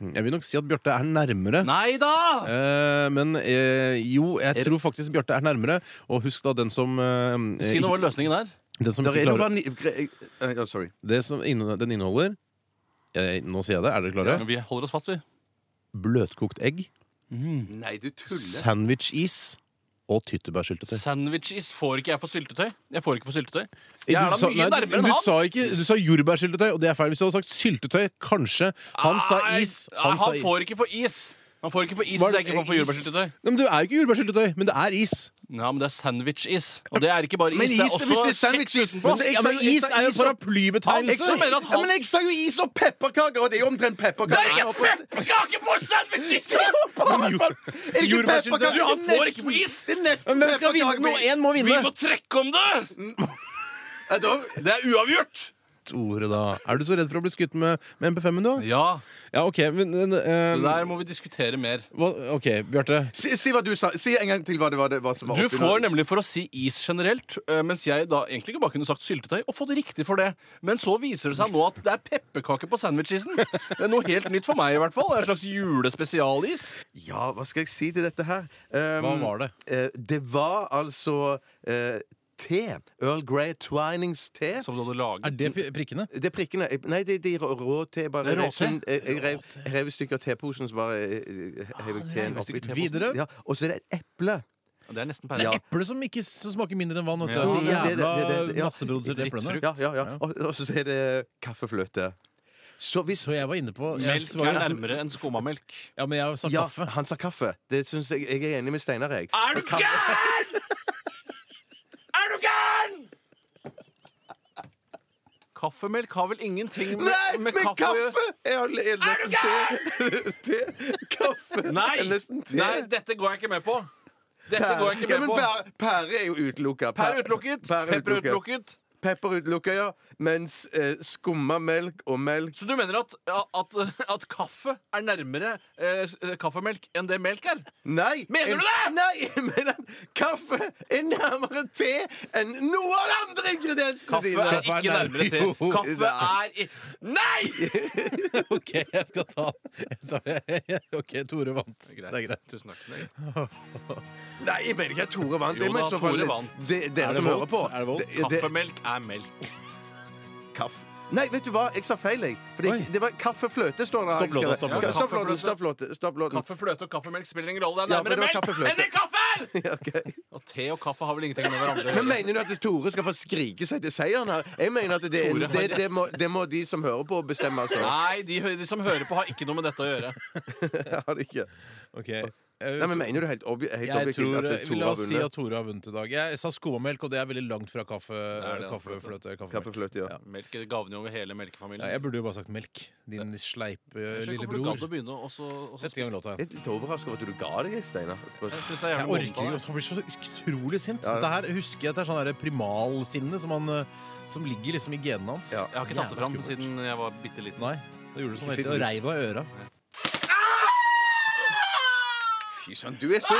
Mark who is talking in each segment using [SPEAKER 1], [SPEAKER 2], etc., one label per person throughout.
[SPEAKER 1] Mm. Jeg vil nok si at Bjarte er nærmere.
[SPEAKER 2] Nei da!
[SPEAKER 1] Eh, men eh, jo, jeg tror faktisk Bjarte er nærmere. Og husk da den som eh,
[SPEAKER 2] Si
[SPEAKER 1] ikke-
[SPEAKER 2] noe om løsningen der.
[SPEAKER 1] Den som
[SPEAKER 3] Der
[SPEAKER 1] ikke
[SPEAKER 3] er noe
[SPEAKER 1] klarer
[SPEAKER 3] vani- gre- eh, ja, Sorry.
[SPEAKER 1] Det som inne, den inneholder eh, Nå sier jeg det. Er dere klare?
[SPEAKER 2] Vi holder oss fast, vi.
[SPEAKER 1] Bløtkokt egg,
[SPEAKER 2] Mm.
[SPEAKER 3] Nei, du tuller.
[SPEAKER 1] sandwich-is og tyttebærsyltetøy.
[SPEAKER 2] Sandwiches får ikke jeg for syltetøy. Jeg får ikke for syltetøy.
[SPEAKER 1] Du
[SPEAKER 2] Jeg er da
[SPEAKER 1] sa-
[SPEAKER 2] mye
[SPEAKER 1] nei,
[SPEAKER 2] nærmere
[SPEAKER 1] du
[SPEAKER 2] enn han.
[SPEAKER 1] sa ikke- Du sa jordbærsyltetøy, og det er feil. Hvis du hadde sagt syltetøy, kanskje. Han sa
[SPEAKER 2] Nei,
[SPEAKER 1] is.
[SPEAKER 2] nei, Han,
[SPEAKER 1] sa is.
[SPEAKER 2] får ikke for is. Han får ikke for is
[SPEAKER 1] Var
[SPEAKER 2] hvis
[SPEAKER 1] det
[SPEAKER 2] jeg ikke får for
[SPEAKER 1] is?
[SPEAKER 2] jordbærsyltetøy.
[SPEAKER 1] Nei, men Det er jo ikke jordbærsyltetøy, men det er is.
[SPEAKER 2] Ja, men det er sandwich-is. Og det er ikke bare is.
[SPEAKER 3] Men
[SPEAKER 2] det er
[SPEAKER 3] is,
[SPEAKER 2] også
[SPEAKER 3] hvis det er sandwich-is,
[SPEAKER 2] kjeks
[SPEAKER 3] men
[SPEAKER 2] utenpå.
[SPEAKER 3] så er
[SPEAKER 1] Ja, men
[SPEAKER 3] jeg
[SPEAKER 1] Is
[SPEAKER 3] sa
[SPEAKER 1] er jo en
[SPEAKER 3] is og-
[SPEAKER 2] Jeg
[SPEAKER 1] paraplybetegnelse.
[SPEAKER 2] sa- mener at han-
[SPEAKER 3] Ja, men jeg sa jo is og pepperkaker, og det er jo omtrent pepperkaker.
[SPEAKER 2] Det er ikke pepperkake på sandwich-is!
[SPEAKER 1] Men jo-
[SPEAKER 3] Er det ikke
[SPEAKER 1] Jordbærsyltetøy?
[SPEAKER 3] pepperkaker?
[SPEAKER 2] Du, han
[SPEAKER 3] Det er
[SPEAKER 2] får
[SPEAKER 3] nesten-
[SPEAKER 2] ikke på is!
[SPEAKER 3] Det er
[SPEAKER 1] Men
[SPEAKER 3] nesten
[SPEAKER 1] hvem skal vinne?
[SPEAKER 3] pepperkaker.
[SPEAKER 1] Noe én må
[SPEAKER 2] Vi
[SPEAKER 1] vinne.
[SPEAKER 2] må trekke om det!
[SPEAKER 3] Ja, da,
[SPEAKER 2] Det er uavgjort.
[SPEAKER 1] Ordet, da. Er du så redd for å bli skutt med, med MP5-en, du?
[SPEAKER 2] Ja,
[SPEAKER 1] Ja, OK. Men, men,
[SPEAKER 2] det
[SPEAKER 1] eh,
[SPEAKER 2] der må vi diskutere mer.
[SPEAKER 1] hva, OK, Bjarte.
[SPEAKER 3] si, si hva du sa. Si en gang til hva det var, det, hva som var
[SPEAKER 2] Du
[SPEAKER 3] oppi
[SPEAKER 2] får
[SPEAKER 3] nå.
[SPEAKER 2] nemlig for å si is generelt, eh, mens jeg da egentlig ikke bare kunne sagt syltetøy, og fått riktig for det. Men så viser det seg nå at det er pepperkake på sandwichisen. Det er noe helt nytt for meg, i hvert fall. Det er en slags julespesialis.
[SPEAKER 3] Ja, hva skal jeg si til dette her? Um,
[SPEAKER 1] Hva var det?
[SPEAKER 3] eh, det var altså eh, te. Earl Grey Twinings-te.
[SPEAKER 2] Som du hadde laget.
[SPEAKER 1] Er det pi- prikkene?
[SPEAKER 3] Det er prikkene. Jeg- Nei, det er de rå, rå te. Bare,
[SPEAKER 2] Det er rå
[SPEAKER 3] jeg rev-
[SPEAKER 2] te?
[SPEAKER 3] jeg, jeg, rev, jeg rev i stykker teposen, så bare
[SPEAKER 2] Ah,
[SPEAKER 3] eh, hev jeg teen
[SPEAKER 2] rev i
[SPEAKER 3] oppi.
[SPEAKER 2] stykker teposen.
[SPEAKER 1] Videre.
[SPEAKER 3] Ja, og så er det et eple.
[SPEAKER 2] Det er nesten
[SPEAKER 1] Det
[SPEAKER 2] pære.
[SPEAKER 1] er eple som ikke som smaker mindre enn vann. Vet du.
[SPEAKER 2] Ja,
[SPEAKER 1] De
[SPEAKER 3] ja,
[SPEAKER 1] jævla
[SPEAKER 3] det- det- det- det- ja.
[SPEAKER 1] masseproduserte eplene.
[SPEAKER 3] Ja, ja, ja. Og, og så er det kaffefløte. Så hvis
[SPEAKER 1] Så jeg var inne på jeg
[SPEAKER 2] Melk er
[SPEAKER 1] svarer-
[SPEAKER 2] nærmere enn skummamelk.
[SPEAKER 1] Ja, men jeg sa
[SPEAKER 3] ja,
[SPEAKER 1] kaffe.
[SPEAKER 3] han sa kaffe. Det synes jeg, jeg er enig med Steinar, jeg.
[SPEAKER 2] Er du gæren?! Er du gæren?! Kaffemelk har vel ingenting med,
[SPEAKER 3] Nei,
[SPEAKER 2] med
[SPEAKER 3] men
[SPEAKER 2] kaffe å gjøre?
[SPEAKER 3] kaffe! Jeg har jeg har nesten te. te. Kaffe
[SPEAKER 2] Nei!
[SPEAKER 3] er nesten te.
[SPEAKER 2] Nei, dette går jeg ikke med på. Dette
[SPEAKER 3] Pære.
[SPEAKER 2] går jeg
[SPEAKER 3] ja,
[SPEAKER 2] ikke
[SPEAKER 3] men
[SPEAKER 2] med på.
[SPEAKER 3] pære, pære er jo utelukka.
[SPEAKER 2] Pære utelukket,
[SPEAKER 3] Pære
[SPEAKER 2] pepper utelukket.
[SPEAKER 3] Pepper utelukka, ja. Mens eh, skumma melk og melk
[SPEAKER 2] Så du mener at, at, at kaffe er nærmere eh, s- eh, kaffemelk enn det melk er?
[SPEAKER 3] Nei!
[SPEAKER 2] Mener du det?!
[SPEAKER 3] Nei, jeg mener at kaffe er nærmere te enn noen av de andre ingrediensene
[SPEAKER 2] Kaffe
[SPEAKER 3] dine.
[SPEAKER 2] er ikke nærmere te.
[SPEAKER 1] Jo.
[SPEAKER 2] Kaffe er i Nei!
[SPEAKER 1] OK, jeg skal ta jeg tar- OK, Tore vant. Det er greit.
[SPEAKER 2] Tusen takk.
[SPEAKER 3] Nei, jeg mener ikke at Tore vant.
[SPEAKER 2] Jo
[SPEAKER 3] Det må
[SPEAKER 2] da,
[SPEAKER 3] i så fall-
[SPEAKER 2] Tore vant.
[SPEAKER 3] Det, dere
[SPEAKER 1] det
[SPEAKER 3] som
[SPEAKER 1] vote?
[SPEAKER 3] hører på.
[SPEAKER 1] Er det vote?
[SPEAKER 3] det- det-
[SPEAKER 2] Kaffemelk er melk.
[SPEAKER 3] Kaff... Nei, vet du hva? Jeg sa feil, jeg. For det,
[SPEAKER 1] Oi.
[SPEAKER 3] det var kaffefløte, står det. her.
[SPEAKER 1] Stopp låta, stopp
[SPEAKER 3] Ja,
[SPEAKER 1] låta.
[SPEAKER 3] Stopp låten, stopp låten, stopp låten.
[SPEAKER 2] Kaffe, fløte og kaffemelk spiller ingen rolle. Det
[SPEAKER 3] Ja,
[SPEAKER 2] er
[SPEAKER 3] for det
[SPEAKER 2] nærmere
[SPEAKER 3] var
[SPEAKER 2] melk
[SPEAKER 3] kaffefløte.
[SPEAKER 2] enn det kaffe er!
[SPEAKER 3] Ja, ok.
[SPEAKER 2] Og te og kaffe har vel ingenting med hverandre å
[SPEAKER 3] Men
[SPEAKER 2] gjøre.
[SPEAKER 3] mener du at Tore skal få skrike seg til seieren her? Jeg mener at det,
[SPEAKER 2] Tore
[SPEAKER 3] det,
[SPEAKER 2] har
[SPEAKER 3] det,
[SPEAKER 2] rett.
[SPEAKER 3] må, det må de som hører på, bestemme. Altså.
[SPEAKER 2] Nei, de, hø- de som hører på, har ikke noe med dette å gjøre.
[SPEAKER 3] Jeg har det ikke.
[SPEAKER 1] OK. Eh,
[SPEAKER 3] Nei, men Mener du helt, obje, helt
[SPEAKER 1] Jeg
[SPEAKER 3] objektivt
[SPEAKER 1] tror,
[SPEAKER 3] at
[SPEAKER 1] eh,
[SPEAKER 3] Tore
[SPEAKER 1] La
[SPEAKER 3] har
[SPEAKER 1] oss si at
[SPEAKER 3] vunnet?
[SPEAKER 1] Tore har vunnet i dag. Jeg sa skummelk, og det er veldig langt fra kaffe,
[SPEAKER 2] er det,
[SPEAKER 1] kaffefløte. kaffemelk.
[SPEAKER 3] Kaffefløte, ja.
[SPEAKER 1] Ja.
[SPEAKER 2] Melk gavner jo over hele
[SPEAKER 1] Ja,
[SPEAKER 2] melkefamilien.
[SPEAKER 1] jeg burde jo bare sagt melk. Din sleipe eh,
[SPEAKER 2] Jeg
[SPEAKER 1] lille
[SPEAKER 2] skjønner ikke hvorfor du gadd å
[SPEAKER 1] bror.
[SPEAKER 2] begynne å- også, også
[SPEAKER 1] Sett i gang låta.
[SPEAKER 3] Jeg er litt overrasket over at du ga deg, Steinar.
[SPEAKER 2] Jeg synes det er
[SPEAKER 1] Jeg
[SPEAKER 2] jævlig
[SPEAKER 1] orker
[SPEAKER 2] vondt av
[SPEAKER 1] ikke.
[SPEAKER 2] deg.
[SPEAKER 1] Han blir så utrolig sint.
[SPEAKER 3] Ja.
[SPEAKER 1] Dette her husker jeg at det er sånn der primalsinne som, han, eh, som ligger liksom i genene hans.
[SPEAKER 3] Ja.
[SPEAKER 2] Jeg har ikke tatt det fram
[SPEAKER 1] Jævla skummelt.
[SPEAKER 2] siden jeg var bitte liten.
[SPEAKER 1] Nei. Da gjorde du sånn helt
[SPEAKER 3] Ikke siden
[SPEAKER 1] og
[SPEAKER 3] du-
[SPEAKER 1] reiv av øra.
[SPEAKER 3] Fy søren, du er så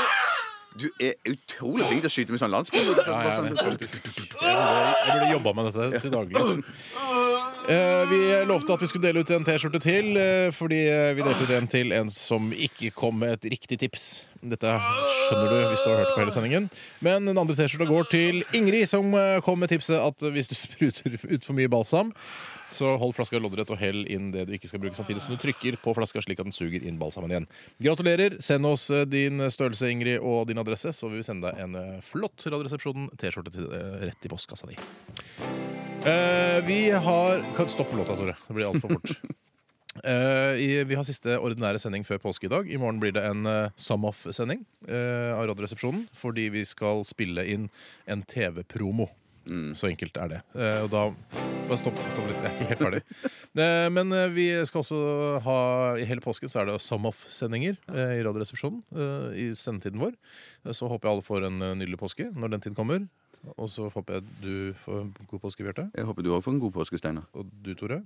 [SPEAKER 3] Du er utrolig flink til å skyte med sånn landsbygd.
[SPEAKER 1] Ja, jeg, vet faktisk. jeg burde, jeg burde jobba med dette til daglig. Eh, vi lovte at vi skulle dele ut en T-skjorte til, eh, fordi eh, vi delte ut en til en som ikke kom med et riktig tips. Dette skjønner du hvis du har hørt på hele sendingen. Men den andre T-skjorta går til Ingrid, som eh, kom med tipset at hvis du spruter ut for mye balsam, så hold flaska loddrett og hell inn det du ikke skal bruke, samtidig som du trykker på flaska slik at den suger inn balsamen igjen. Gratulerer. Send oss eh, din størrelse, Ingrid, og din adresse, så vil vi sende deg en eh, flott Radioresepsjonen-T-skjorte til- eh, rett i postkassa di. Eh, vi har Kan stoppe låta, Tore. Det blir altfor fort. Eh, i, vi har siste ordinære sending før påske i dag. I morgen blir det en uh, sum-off-sending eh, av Radioresepsjonen. Fordi vi skal spille inn en TV-promo. Så enkelt er det. Eh, og da Bare stopp, stopp litt. Jeg er ikke helt ferdig. Eh, men eh, vi skal også ha I hele påsken så er det sum-off-sendinger eh, i Radioresepsjonen. eh, I sendetiden vår. Eh, så håper jeg alle får en eh, nydelig påske når den tid kommer. Og så håper jeg du får en god påske, Bjarte.
[SPEAKER 3] Jeg håper du òg får en god påske, Steinar.
[SPEAKER 1] Og du, Tore?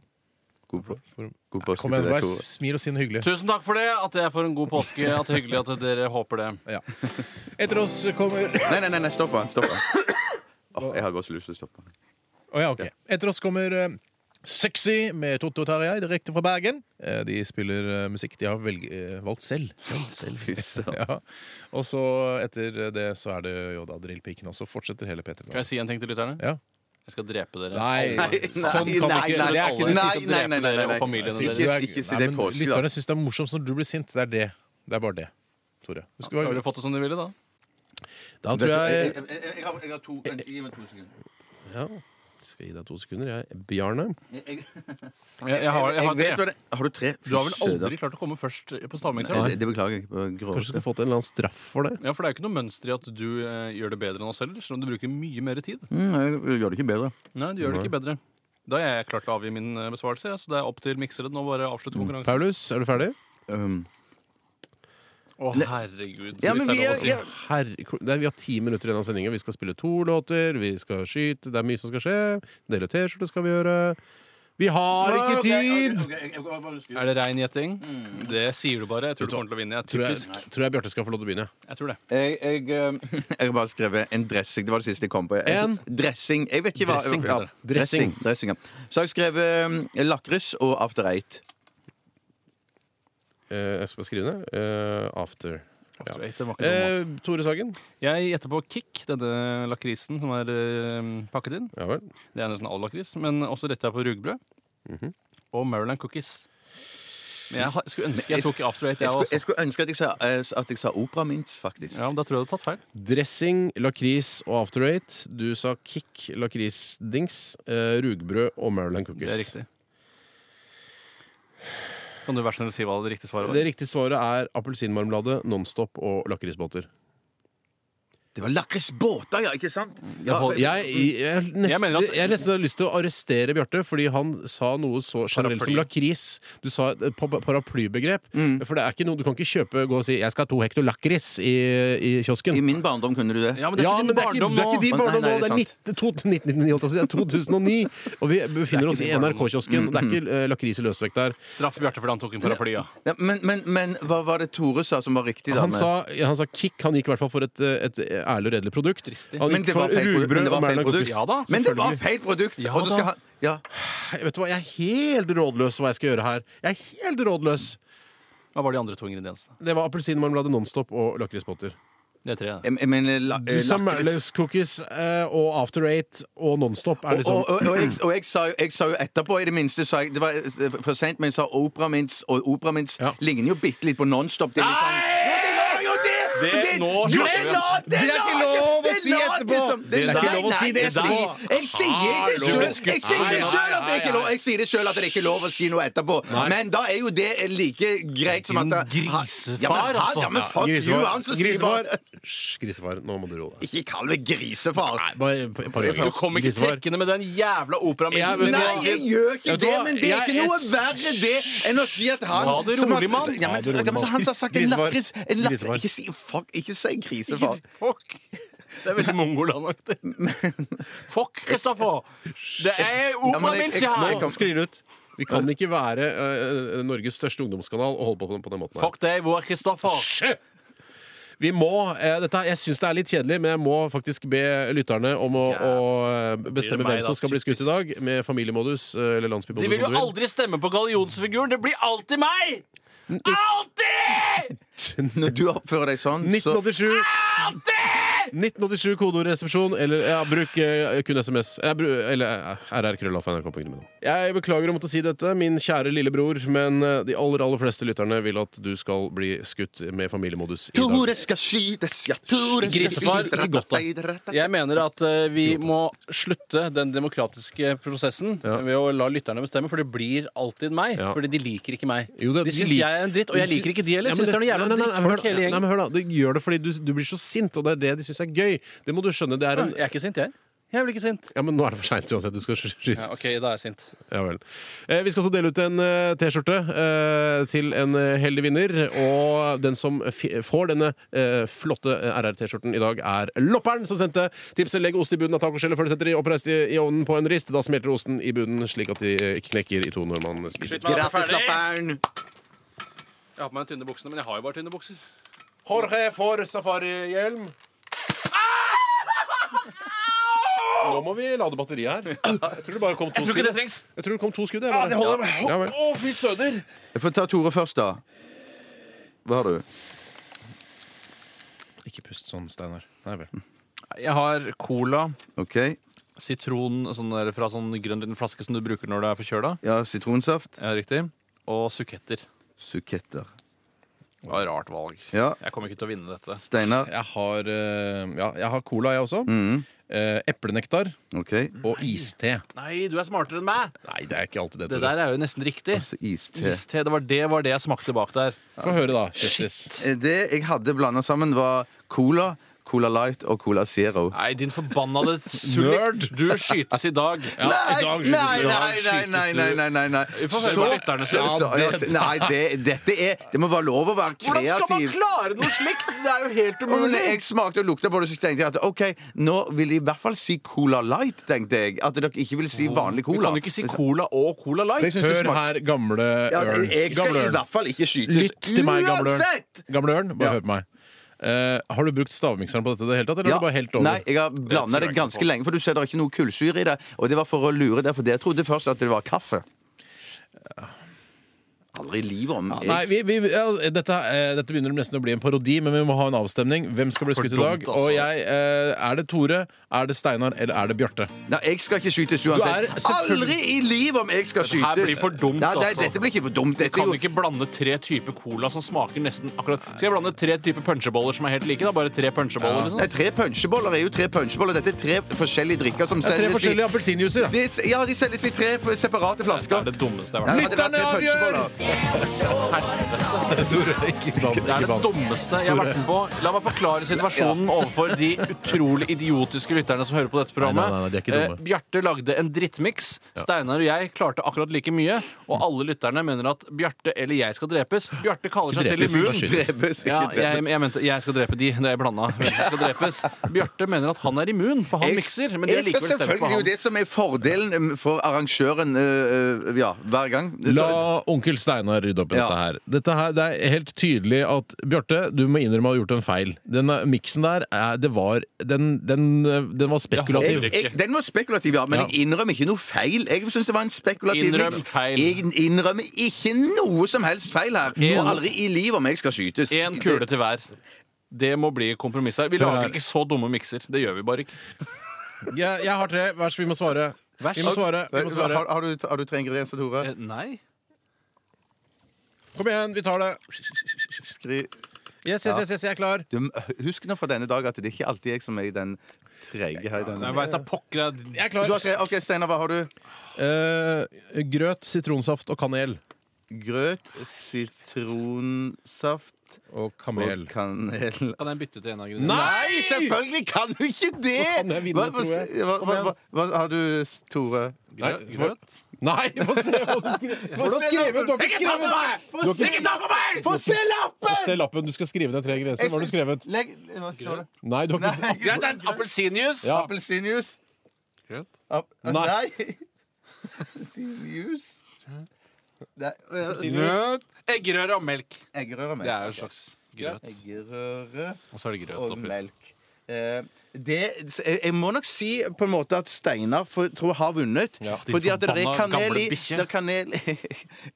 [SPEAKER 3] God, på-
[SPEAKER 1] For...
[SPEAKER 3] god påske
[SPEAKER 1] Kom igjen,
[SPEAKER 3] til deg,
[SPEAKER 1] vær
[SPEAKER 3] Tore.
[SPEAKER 1] smil og si noe hyggelig.
[SPEAKER 2] Tusen takk for det, at jeg får en god påske. At det er Hyggelig at dere håper det.
[SPEAKER 1] Ja. Etter oss kommer Å
[SPEAKER 3] Nei, nei, nei, nei stopp han. Stopp han. Åh, jeg har bare så lyst til å stoppe han.
[SPEAKER 1] ja, ok. Etter oss kommer eh,
[SPEAKER 4] Sexy med Totto og Tarjei direkte fra Bergen. Eh, De spiller eh, musikk de har velg eh, valgt selv.
[SPEAKER 3] Fy søren.
[SPEAKER 4] Ja. Og så etter det så er det jo da Drillpiken også. Fortsetter hele P3
[SPEAKER 2] Kan jeg si en ting til lytterne?
[SPEAKER 4] Ja.
[SPEAKER 2] Jeg skal drepe dere.
[SPEAKER 4] Nei,
[SPEAKER 3] Nei,
[SPEAKER 4] sånn
[SPEAKER 3] nei,
[SPEAKER 4] kan
[SPEAKER 3] nei,
[SPEAKER 4] vi ikke
[SPEAKER 3] nei,
[SPEAKER 4] det er ikke det
[SPEAKER 3] nei,
[SPEAKER 4] siste.
[SPEAKER 2] siste å drepe dere og familiene
[SPEAKER 4] Nei,
[SPEAKER 2] deres.
[SPEAKER 4] du er-
[SPEAKER 3] Ikke si
[SPEAKER 4] Nei,
[SPEAKER 3] det
[SPEAKER 4] men
[SPEAKER 3] påske, da.
[SPEAKER 4] Lytterne syns det er morsomt når du blir sint. Det er det. Det er bare det. Tore. Du skulle
[SPEAKER 2] Har
[SPEAKER 4] være-
[SPEAKER 2] dere fått det som dere ville, da?
[SPEAKER 4] Da tror jeg
[SPEAKER 1] Jeg, jeg, jeg, har, jeg har to vent, Gi meg to sekunder.
[SPEAKER 4] Eh,
[SPEAKER 3] Ja. Skal gi deg to sekunder, jeg. Bjarne.
[SPEAKER 1] Jeg, jeg,
[SPEAKER 2] Jeg, jeg har, jeg har
[SPEAKER 3] vet
[SPEAKER 2] tre.
[SPEAKER 3] hva det- Har du tre?
[SPEAKER 2] Du har vel
[SPEAKER 3] Fy søren.
[SPEAKER 2] aldri klart å komme først på
[SPEAKER 3] Nei,
[SPEAKER 2] stavmikseren?
[SPEAKER 3] det, det beklager jeg. på
[SPEAKER 1] Kanskje
[SPEAKER 3] Gråte. fått en eller annen straff for det.
[SPEAKER 2] Ja, for det er jo ikke noe mønster i at du eh, gjør det bedre enn oss selv, selv om du bruker mye mer tid.
[SPEAKER 3] Mm, jeg gjør det ikke bedre.
[SPEAKER 2] Nei, du gjør det ikke bedre. Da er jeg klar til å avgi min eh, besvarelse, ja, så det er opp til mikseren å bare avslutte konkurransen.
[SPEAKER 4] Paulus, er du ferdig?
[SPEAKER 3] Um,
[SPEAKER 2] Å, herregud.
[SPEAKER 3] Ja, men
[SPEAKER 2] hvis det
[SPEAKER 3] vi
[SPEAKER 2] er lov
[SPEAKER 3] er-
[SPEAKER 2] å si.
[SPEAKER 3] ja.
[SPEAKER 1] Herre, det er, vi har ti minutter igjen av sendingen. Vi skal spille to låter, vi skal skyte, det er mye som skal skje. Dele ut T-skjorte skal vi gjøre.
[SPEAKER 4] Vi har ikke tid!
[SPEAKER 2] Er det rein gjetting? Det sier du bare. Jeg tror Mm. du kommer til å vinne. Jeg er
[SPEAKER 1] Tror jeg,
[SPEAKER 2] typisk.
[SPEAKER 1] tror jeg Bjarte skal få lov til å begynne.
[SPEAKER 2] Jeg tror det.
[SPEAKER 3] jeg, jeg, um, jeg har bare skrevet en dressing. Det var det siste jeg kom på.
[SPEAKER 1] En?
[SPEAKER 3] dressing. Jeg vet ikke hva
[SPEAKER 2] Dressing
[SPEAKER 3] ja,
[SPEAKER 2] heter det.
[SPEAKER 3] dressing. dressing ja. Så har jeg skrevet um, lakris og after eight.
[SPEAKER 1] Eh, jeg skal bare skrive ned. Eh, after. Ja.
[SPEAKER 2] Straight, det var ikke noe mas.
[SPEAKER 1] Eh, Tore Sagen.
[SPEAKER 2] Jeg gjetter på Kick, denne lakrisen som er eh, pakket inn.
[SPEAKER 1] Ja vel.
[SPEAKER 2] Det er nesten all lakris. Men også dette er på rugbrød. Mhm. Og Maryland cookies. Men jeg har- skulle ønske jeg tok After Eight, jeg
[SPEAKER 3] Jeg skulle,
[SPEAKER 2] også.
[SPEAKER 3] jeg skulle ønske at jeg sa, eh, at jeg sa opera minst, faktisk.
[SPEAKER 2] Ja, men Da tror jeg du har tatt feil.
[SPEAKER 1] Dressing, lakris og after eight. Du sa kick, lakrisdings, eh, rugbrød og Maryland cookies.
[SPEAKER 2] Det er riktig. Kan du være så snill å si hva det riktige svaret var?
[SPEAKER 1] Det riktige svaret er appelsinmarmelade, Nonstop og lakrisbåter.
[SPEAKER 3] Det var lakrisbåter, ja! Ikke sant?
[SPEAKER 2] Jeg holder-
[SPEAKER 1] Jeg, jeg, nesten, jeg,
[SPEAKER 2] Jeg mener at-
[SPEAKER 1] nesten har lyst til å arrestere Bjarte, fordi han sa noe så generelt som
[SPEAKER 2] Paraply. Mm.
[SPEAKER 1] lakris. Du sa eh, et pa- pa- paraplybegrep. For det er ikke noe du kan ikke kjøpe gå og si 'jeg skal ha to hekto lakris' i, i
[SPEAKER 3] I
[SPEAKER 1] kiosken.
[SPEAKER 3] min barndom kunne du det.
[SPEAKER 2] Ja, men det er
[SPEAKER 1] Ja,
[SPEAKER 2] ikke
[SPEAKER 1] men
[SPEAKER 2] din
[SPEAKER 1] det er ikke,
[SPEAKER 2] barndom
[SPEAKER 1] det er
[SPEAKER 2] nå!
[SPEAKER 1] ikke din
[SPEAKER 3] Nei,
[SPEAKER 1] barndom nå!
[SPEAKER 3] nei,
[SPEAKER 1] Det er 19,
[SPEAKER 3] det
[SPEAKER 1] to, 1999, holdt jeg på å si. Det er 2009! Og vi
[SPEAKER 2] Det er
[SPEAKER 1] befinner oss i
[SPEAKER 2] ikke din barndom nå.
[SPEAKER 1] NRK-kiosken. Det er ikke eh, lakris i løsvekt der.
[SPEAKER 2] Straff Bjarte fordi han tok en paraply, ja.
[SPEAKER 3] Ja, men, men, men hva var det Tore sa som var riktig? da?
[SPEAKER 1] Han
[SPEAKER 3] med-
[SPEAKER 1] sa, han sa kick. Han gikk i hvert fall for et, eh, et ærlig og redelig produkt.
[SPEAKER 2] Dristig.
[SPEAKER 1] Han
[SPEAKER 3] men
[SPEAKER 1] gikk
[SPEAKER 3] det var
[SPEAKER 1] for
[SPEAKER 3] feil, pro- men
[SPEAKER 1] rugbrød og
[SPEAKER 3] det var feil
[SPEAKER 1] Maryland
[SPEAKER 3] produkt.
[SPEAKER 1] cookies.
[SPEAKER 2] Ja da,
[SPEAKER 3] men det var
[SPEAKER 1] selvfølgelig.
[SPEAKER 3] feil produkt!
[SPEAKER 2] Ja
[SPEAKER 3] og så skal
[SPEAKER 2] da.
[SPEAKER 3] han ja.
[SPEAKER 1] Vet du hva, Jeg er helt rådløs hva jeg skal gjøre her. Jeg er helt rådløs
[SPEAKER 2] Hva var de andre to ingrediensene?
[SPEAKER 1] Det var appelsinmarmelade Nonstop og lakrisbåter.
[SPEAKER 2] Det er tre. ja.
[SPEAKER 3] Jeg, jeg mener la,
[SPEAKER 1] Du sa
[SPEAKER 3] Eh, lakris.
[SPEAKER 1] Marlis Cookies eh, og After Eight og Nonstop er
[SPEAKER 3] Og,
[SPEAKER 1] liksom
[SPEAKER 3] og, og, og, jeg, og jeg, sa jo, jeg sa jo etterpå, i det minste sa jeg, Det var eh, for seint, men jeg sa Opera Mints, og Opera Mints
[SPEAKER 1] Ja.
[SPEAKER 3] ligner jo bitte litt på Nonstop. Det er litt sånn- Jo, det gjør jo det!
[SPEAKER 2] Det- nå
[SPEAKER 3] jo,
[SPEAKER 2] slutter vi.
[SPEAKER 3] det la- det
[SPEAKER 1] Det er ikke
[SPEAKER 3] la-
[SPEAKER 1] lov å
[SPEAKER 3] det
[SPEAKER 1] si
[SPEAKER 3] la-
[SPEAKER 1] etterpå.
[SPEAKER 3] det som-
[SPEAKER 1] Det er ikke
[SPEAKER 3] nei,
[SPEAKER 1] lov å
[SPEAKER 3] nei,
[SPEAKER 1] si det
[SPEAKER 3] jeg
[SPEAKER 1] etterpå. Ah,
[SPEAKER 3] sier- Jeg sier det
[SPEAKER 1] Hallo.
[SPEAKER 3] sjøl! Jeg sier det
[SPEAKER 2] Nei,
[SPEAKER 3] selv at det ikke er
[SPEAKER 2] nei,
[SPEAKER 3] lov Jeg sier det selv at det ikke er lov å si noe etterpå. Men da er jo det like greit som at
[SPEAKER 2] Din
[SPEAKER 3] det- ha-
[SPEAKER 2] grisefar,
[SPEAKER 3] ja, men, ha-
[SPEAKER 2] altså.
[SPEAKER 3] Ja, men fuck you,
[SPEAKER 1] Grisefar.
[SPEAKER 3] han som sier
[SPEAKER 1] Grisefar.
[SPEAKER 3] bare
[SPEAKER 1] Hysj, grisefar. Nå må du roe deg.
[SPEAKER 3] Ikke kall meg grisefar!
[SPEAKER 1] Nei, bare et par
[SPEAKER 2] Du
[SPEAKER 1] ganger.
[SPEAKER 2] kom ikke
[SPEAKER 1] Grisefar.
[SPEAKER 2] trekkende med den jævla
[SPEAKER 1] Jeg
[SPEAKER 2] operamiksen.
[SPEAKER 1] vet
[SPEAKER 3] Nei, jeg gjør ikke
[SPEAKER 1] Vet du
[SPEAKER 3] det,
[SPEAKER 1] hva?
[SPEAKER 3] men det er
[SPEAKER 1] Jeg
[SPEAKER 3] ikke noe
[SPEAKER 1] er-
[SPEAKER 3] verre det enn å si at han
[SPEAKER 2] Ta det
[SPEAKER 3] som
[SPEAKER 2] rolig, mann.
[SPEAKER 3] Ja, men-
[SPEAKER 1] Ta det rolig,
[SPEAKER 3] ja, men
[SPEAKER 1] mann.
[SPEAKER 3] Han som har sagt en
[SPEAKER 1] Grisefar.
[SPEAKER 3] lakris en lakris-
[SPEAKER 1] Grisefar.
[SPEAKER 3] Ikke si fuck, ikke si grisefar.
[SPEAKER 2] Fuck! Det er veldig mongolandaktig. Fuck, Kristoffer! Det er
[SPEAKER 3] Ja, men jeg-
[SPEAKER 2] operamix
[SPEAKER 3] jeg-
[SPEAKER 2] her!
[SPEAKER 3] jeg kan-
[SPEAKER 1] Nå sklir det ut. Vi kan ikke være eh, Norges største ungdomskanal og holde på på den- på den måten her.
[SPEAKER 2] Fuck deg, hvor er Kristoffer?
[SPEAKER 1] Hysj! Vi må, eh, dette, her- Jeg syns det er litt kjedelig, men jeg må faktisk be lytterne om å, å eh, bestemme
[SPEAKER 2] Blir det meg,
[SPEAKER 1] hvem som
[SPEAKER 2] da?
[SPEAKER 1] skal bli skutt i dag, med familiemodus eh, eller landsbymodus.
[SPEAKER 2] De vil jo
[SPEAKER 1] om du
[SPEAKER 2] aldri stemme på gallionsfiguren! Det blir alltid meg! Alltid!
[SPEAKER 3] Når du oppfører deg sånn, så
[SPEAKER 1] 1987 1987 kodeordresepsjon, eller ja, bruk eh, kun SMS. Jeg bru, eller eh, rrkrøllalfa.nrk.no. Jeg beklager å måtte si dette, min kjære lillebror, men eh, de aller aller fleste lytterne vil at du skal bli skutt med familiemodus i dag.
[SPEAKER 3] Tore skal skytes, ja, Tore skal
[SPEAKER 2] Grisefar,
[SPEAKER 3] skytes.
[SPEAKER 2] ikke godt, Jeg mener at eh, vi må slutte den demokratiske prosessen ved å la lytterne bestemme, for det blir alltid meg.
[SPEAKER 1] Ja.
[SPEAKER 2] Fordi de liker ikke meg.
[SPEAKER 1] Jo, det-
[SPEAKER 2] de syns
[SPEAKER 1] lik-
[SPEAKER 2] jeg er en dritt, og jeg liker ikke de heller.
[SPEAKER 1] Ja, men
[SPEAKER 2] syns det er
[SPEAKER 1] nei, nei,
[SPEAKER 2] noe jævla
[SPEAKER 1] nei, hør
[SPEAKER 2] drittfolk
[SPEAKER 1] da.
[SPEAKER 2] hele
[SPEAKER 1] Nei,
[SPEAKER 2] gjengen.
[SPEAKER 1] men hør da, Du gjør det fordi du, du blir så sint, og det er det de syns er gøy. Det må du skjønne. Det er en
[SPEAKER 2] Jeg er ikke sint, jeg. Jeg blir ikke sint.
[SPEAKER 1] Ja, men nå er det for seint uansett. Du skal sky- skytes.
[SPEAKER 2] Ja, OK, da er jeg sint.
[SPEAKER 1] Ja vel. Eh, vi skal også dele ut en eh, T-skjorte eh, til en eh, heldig vinner. Og den som fi får denne eh, flotte eh, RR-T-skjorten i dag, er Lopperen, som sendte tipset 'legg ost i bunnen av tacoskjellet før du setter det i oppreist i, i ovnen på en rist'. Da smelter osten i bunnen, slik at de eh, ikke knekker i to når man spiser.
[SPEAKER 2] Slutt med det, ferdig.
[SPEAKER 3] Gratislapperen!
[SPEAKER 2] Jeg har på meg tynne buksene, men jeg har jo bare tynne bukser.
[SPEAKER 1] Jorge får safarihjelm.
[SPEAKER 5] nå må vi lade batteriet her. Jeg tror det bare kom to
[SPEAKER 2] Jeg tror
[SPEAKER 5] skudd.
[SPEAKER 2] ikke det trengs.
[SPEAKER 5] Jeg tror det kom to skudd. jeg,
[SPEAKER 2] Ja,
[SPEAKER 5] bare.
[SPEAKER 2] det holder. Å,
[SPEAKER 5] Ja vel.
[SPEAKER 2] fy søder!
[SPEAKER 3] Jeg får ta Tore først, da. Hva har du?
[SPEAKER 1] Ikke pust sånn, Steinar. Nei vel.
[SPEAKER 2] Jeg har cola,
[SPEAKER 3] OK.
[SPEAKER 2] sitron sånn der, fra sånn grønn liten flaske som du bruker når du er forkjøla.
[SPEAKER 3] Ja, sitronsaft.
[SPEAKER 2] Ja, riktig. Og suketter.
[SPEAKER 3] Suketter.
[SPEAKER 2] Det var et rart valg.
[SPEAKER 3] Ja.
[SPEAKER 2] Jeg kommer ikke til å vinne dette.
[SPEAKER 3] Steinar.
[SPEAKER 1] Jeg har, eh, ja, jeg har cola, jeg også.
[SPEAKER 3] Mm.
[SPEAKER 1] Eh, eplenektar
[SPEAKER 3] OK.
[SPEAKER 1] og iste.
[SPEAKER 2] Nei, du er smartere enn meg!
[SPEAKER 1] Nei, det er ikke alltid det.
[SPEAKER 2] Det
[SPEAKER 1] Tore.
[SPEAKER 2] der er jo nesten riktig.
[SPEAKER 3] Så iste.
[SPEAKER 2] Iste, det var det, var det jeg smakte bak der.
[SPEAKER 1] Få høre, da. Kjøstis.
[SPEAKER 3] Eh, Det jeg hadde blanda sammen, var cola, Cola Light og Cola Zero.
[SPEAKER 2] Nei, din forbannede sullik. Du skytes i dag.
[SPEAKER 1] Ja, i dag skytes
[SPEAKER 3] nei,
[SPEAKER 1] du.
[SPEAKER 3] nei, nei, nei, nei, nei, nei, nei.
[SPEAKER 2] Vi får høre hva lytterne synes.
[SPEAKER 3] Så- så- ja, Nei, det, dette er Det må være lov å være
[SPEAKER 2] Hvordan skal man
[SPEAKER 3] kreativ.
[SPEAKER 2] klare noe slikt? Det er jo helt
[SPEAKER 3] Og
[SPEAKER 2] umulig.
[SPEAKER 3] når jeg smakte og lukta på det, så tenkte jeg at OK, nå vil de i hvert fall si Cola Light, tenkte jeg. At dere ikke vil si vanlig
[SPEAKER 2] Du
[SPEAKER 3] cola.
[SPEAKER 2] kan jo ikke si cola og cola light.
[SPEAKER 1] Hør her, gamle
[SPEAKER 3] Ja,
[SPEAKER 1] ørn.
[SPEAKER 3] jeg skal
[SPEAKER 1] Gamle
[SPEAKER 3] i
[SPEAKER 1] ørn.
[SPEAKER 3] hvert fall ikke skytes.
[SPEAKER 1] Lytt til meg, gamle ørn.
[SPEAKER 3] Uansett!
[SPEAKER 1] Gamle ørn, bare hør på meg. Eh, har du brukt stavmikseren på dette i det hele tatt, eller
[SPEAKER 3] Ja.
[SPEAKER 1] har du bare helt over?
[SPEAKER 3] Nei, jeg har blanda det ganske lenge, for du ser det er ikke noe kullsyre i det. Og det var for å lure deg, for jeg trodde først at det var kaffe. Aldri i livet om jeg-
[SPEAKER 1] Nei, vi, vi, ja, dette, eh, dette begynner nesten å bli en parodi, men vi må ha en avstemning. Hvem skal bli
[SPEAKER 2] For
[SPEAKER 1] skutt i
[SPEAKER 2] dumt,
[SPEAKER 1] dag?
[SPEAKER 2] altså.
[SPEAKER 1] Og jeg, eh, Er det Tore, er det Steinar eller er det Bjarte?
[SPEAKER 3] Nei, jeg skal ikke skytes
[SPEAKER 1] Du
[SPEAKER 3] uansett.
[SPEAKER 1] er selvfølgelig-
[SPEAKER 3] Aldri i livet om jeg skal skytes!
[SPEAKER 2] blir for dumt,
[SPEAKER 3] Nei, nei,
[SPEAKER 2] altså.
[SPEAKER 3] Dette blir ikke for dumt.
[SPEAKER 2] Du
[SPEAKER 3] Dette er
[SPEAKER 2] kan
[SPEAKER 3] jo
[SPEAKER 2] ikke blande tre typer cola som smaker nesten akkurat Skal jeg blande tre typer punsjeboller som er helt like? da? Bare tre punsjeboller?
[SPEAKER 3] Nei,
[SPEAKER 2] Liksom?
[SPEAKER 3] Tre punsjeboller er jo tre punsjeboller. Dette er tre forskjellige drikker som
[SPEAKER 1] Tre
[SPEAKER 3] selges i
[SPEAKER 1] forskjellige appelsinjuicer. da.
[SPEAKER 3] de, Ja, de selges i tre f- separate
[SPEAKER 2] Det er
[SPEAKER 3] flasker.
[SPEAKER 2] det dummeste jeg har
[SPEAKER 3] Nei,
[SPEAKER 2] vært med
[SPEAKER 3] hadde det vært tre
[SPEAKER 1] Lytterne avgjør!
[SPEAKER 3] punsjeboller-
[SPEAKER 1] Tore, ikke bland
[SPEAKER 2] på. Det
[SPEAKER 1] ikke
[SPEAKER 2] er det
[SPEAKER 1] bland.
[SPEAKER 2] dummeste jeg har vært med på. La meg forklare situasjonen overfor de utrolig idiotiske lytterne som hører på dette programmet.
[SPEAKER 1] Nei, nei, nei, de er ikke dumme.
[SPEAKER 2] Eh, Bjarte lagde en drittmiks. Steinar og jeg klarte akkurat like mye.
[SPEAKER 1] Mm.
[SPEAKER 2] Og alle lytterne mener at Bjarte eller jeg skal drepes. Bjarte kaller seg selv
[SPEAKER 1] drepes, bare
[SPEAKER 2] immun.
[SPEAKER 1] skytes.
[SPEAKER 3] Drepes, ikke
[SPEAKER 2] Ja, jeg,
[SPEAKER 3] drepes.
[SPEAKER 2] jeg mente jeg skal drepe de. Det er blanda. Hvem som skal drepes. Bjarte mener at han er immun, for han
[SPEAKER 3] Jeg-
[SPEAKER 2] mikser. Men de
[SPEAKER 3] jeg
[SPEAKER 2] er
[SPEAKER 3] skal
[SPEAKER 2] likevel stemt på
[SPEAKER 3] selvfølgelig- Det er jo
[SPEAKER 2] han.
[SPEAKER 3] det som er fordelen um, for arrangøren øh, øh, ja, hver gang. Det-
[SPEAKER 1] La onkel Steinar rydde opp i
[SPEAKER 3] Ja.
[SPEAKER 1] dette her. Dette her. Det er helt tydelig at Bjarte, du må innrømme å ha gjort en feil. Den miksen der, eh, det var Den, den, eh, den var
[SPEAKER 2] Jeg-
[SPEAKER 1] spekulativ.
[SPEAKER 2] jeg-
[SPEAKER 3] Jeg, den var spekulativ, ja, men
[SPEAKER 1] Ja.
[SPEAKER 3] jeg innrømmer ikke noe feil. Jeg synes det var en spekulativ
[SPEAKER 2] Innrøm
[SPEAKER 3] miks.
[SPEAKER 2] feil.
[SPEAKER 3] Jeg innrømmer ikke noe som helst feil her.
[SPEAKER 2] En-
[SPEAKER 3] Og aldri i livet om jeg skal skytes.
[SPEAKER 2] Én kule til hver. Det må bli kompromisset. Vi
[SPEAKER 1] her.
[SPEAKER 2] lager ikke så dumme mikser. Det gjør vi bare ikke.
[SPEAKER 1] Jeg, jeg har tre. Vær så snill, vi må svare.
[SPEAKER 2] Vær så-
[SPEAKER 1] Vi må svare. Vi må svare.
[SPEAKER 3] Har, har, du, har du tre ingredienser, Tore?
[SPEAKER 2] Eh, Nei.
[SPEAKER 1] Kom igjen, vi tar det.
[SPEAKER 3] Skri...
[SPEAKER 1] Yes, yes, yes, yes jeg er klar.
[SPEAKER 3] Du, husk nå fra denne dag at det er ikke alltid jeg som er i den trege her. i denne-
[SPEAKER 2] Jeg veit da pokker jeg-
[SPEAKER 1] Jeg er
[SPEAKER 3] Du
[SPEAKER 1] klar.
[SPEAKER 3] har tre, OK, Steinar, hva har du?
[SPEAKER 1] Eh, grøt, sitronsaft og kanel.
[SPEAKER 3] Grøt, sitronsaft
[SPEAKER 1] Og
[SPEAKER 3] og kanel.
[SPEAKER 2] Kan jeg bytte til en av grunnene?
[SPEAKER 1] Nei!
[SPEAKER 3] selvfølgelig kan du ikke
[SPEAKER 1] Nå kan jeg vinne,
[SPEAKER 3] Hva, hva,
[SPEAKER 1] tror jeg.
[SPEAKER 3] hva,
[SPEAKER 1] Kom
[SPEAKER 3] hva,
[SPEAKER 1] igjen.
[SPEAKER 3] hva, har du, Tore?
[SPEAKER 1] Nei,
[SPEAKER 2] Grøt?
[SPEAKER 1] for- Nei, få se hva du skriver. Få se lappen! Du har ikke skrevet
[SPEAKER 3] Få se lappen! Få se lappen!
[SPEAKER 1] Se lappen. Du skal skrive ned tre ingredienser. Hva har du skrevet?
[SPEAKER 3] Legg, hva står det?
[SPEAKER 1] Nei, du har ikke
[SPEAKER 3] Nei, grøt,
[SPEAKER 2] Appelsinjuice!
[SPEAKER 1] Ja.
[SPEAKER 3] Appelsinjuice.
[SPEAKER 2] Grøt?
[SPEAKER 3] App-
[SPEAKER 1] Nei.
[SPEAKER 3] Nei. Appelsinjuice. Nei,
[SPEAKER 2] Grøt. Eggerøre og melk.
[SPEAKER 3] Eggerøre og
[SPEAKER 2] Det er jo en
[SPEAKER 3] melk.
[SPEAKER 2] slags grøt.
[SPEAKER 3] Eggerøre
[SPEAKER 2] Og så er det grøt
[SPEAKER 3] og
[SPEAKER 2] oppi.
[SPEAKER 3] melk. Eh, Det, jeg må nok si på en måte at Steinar for, tror jeg har vunnet.
[SPEAKER 2] din
[SPEAKER 3] fordi at det er
[SPEAKER 2] forbanna
[SPEAKER 3] kanel i
[SPEAKER 2] gamle bikkje.
[SPEAKER 3] det er kanel,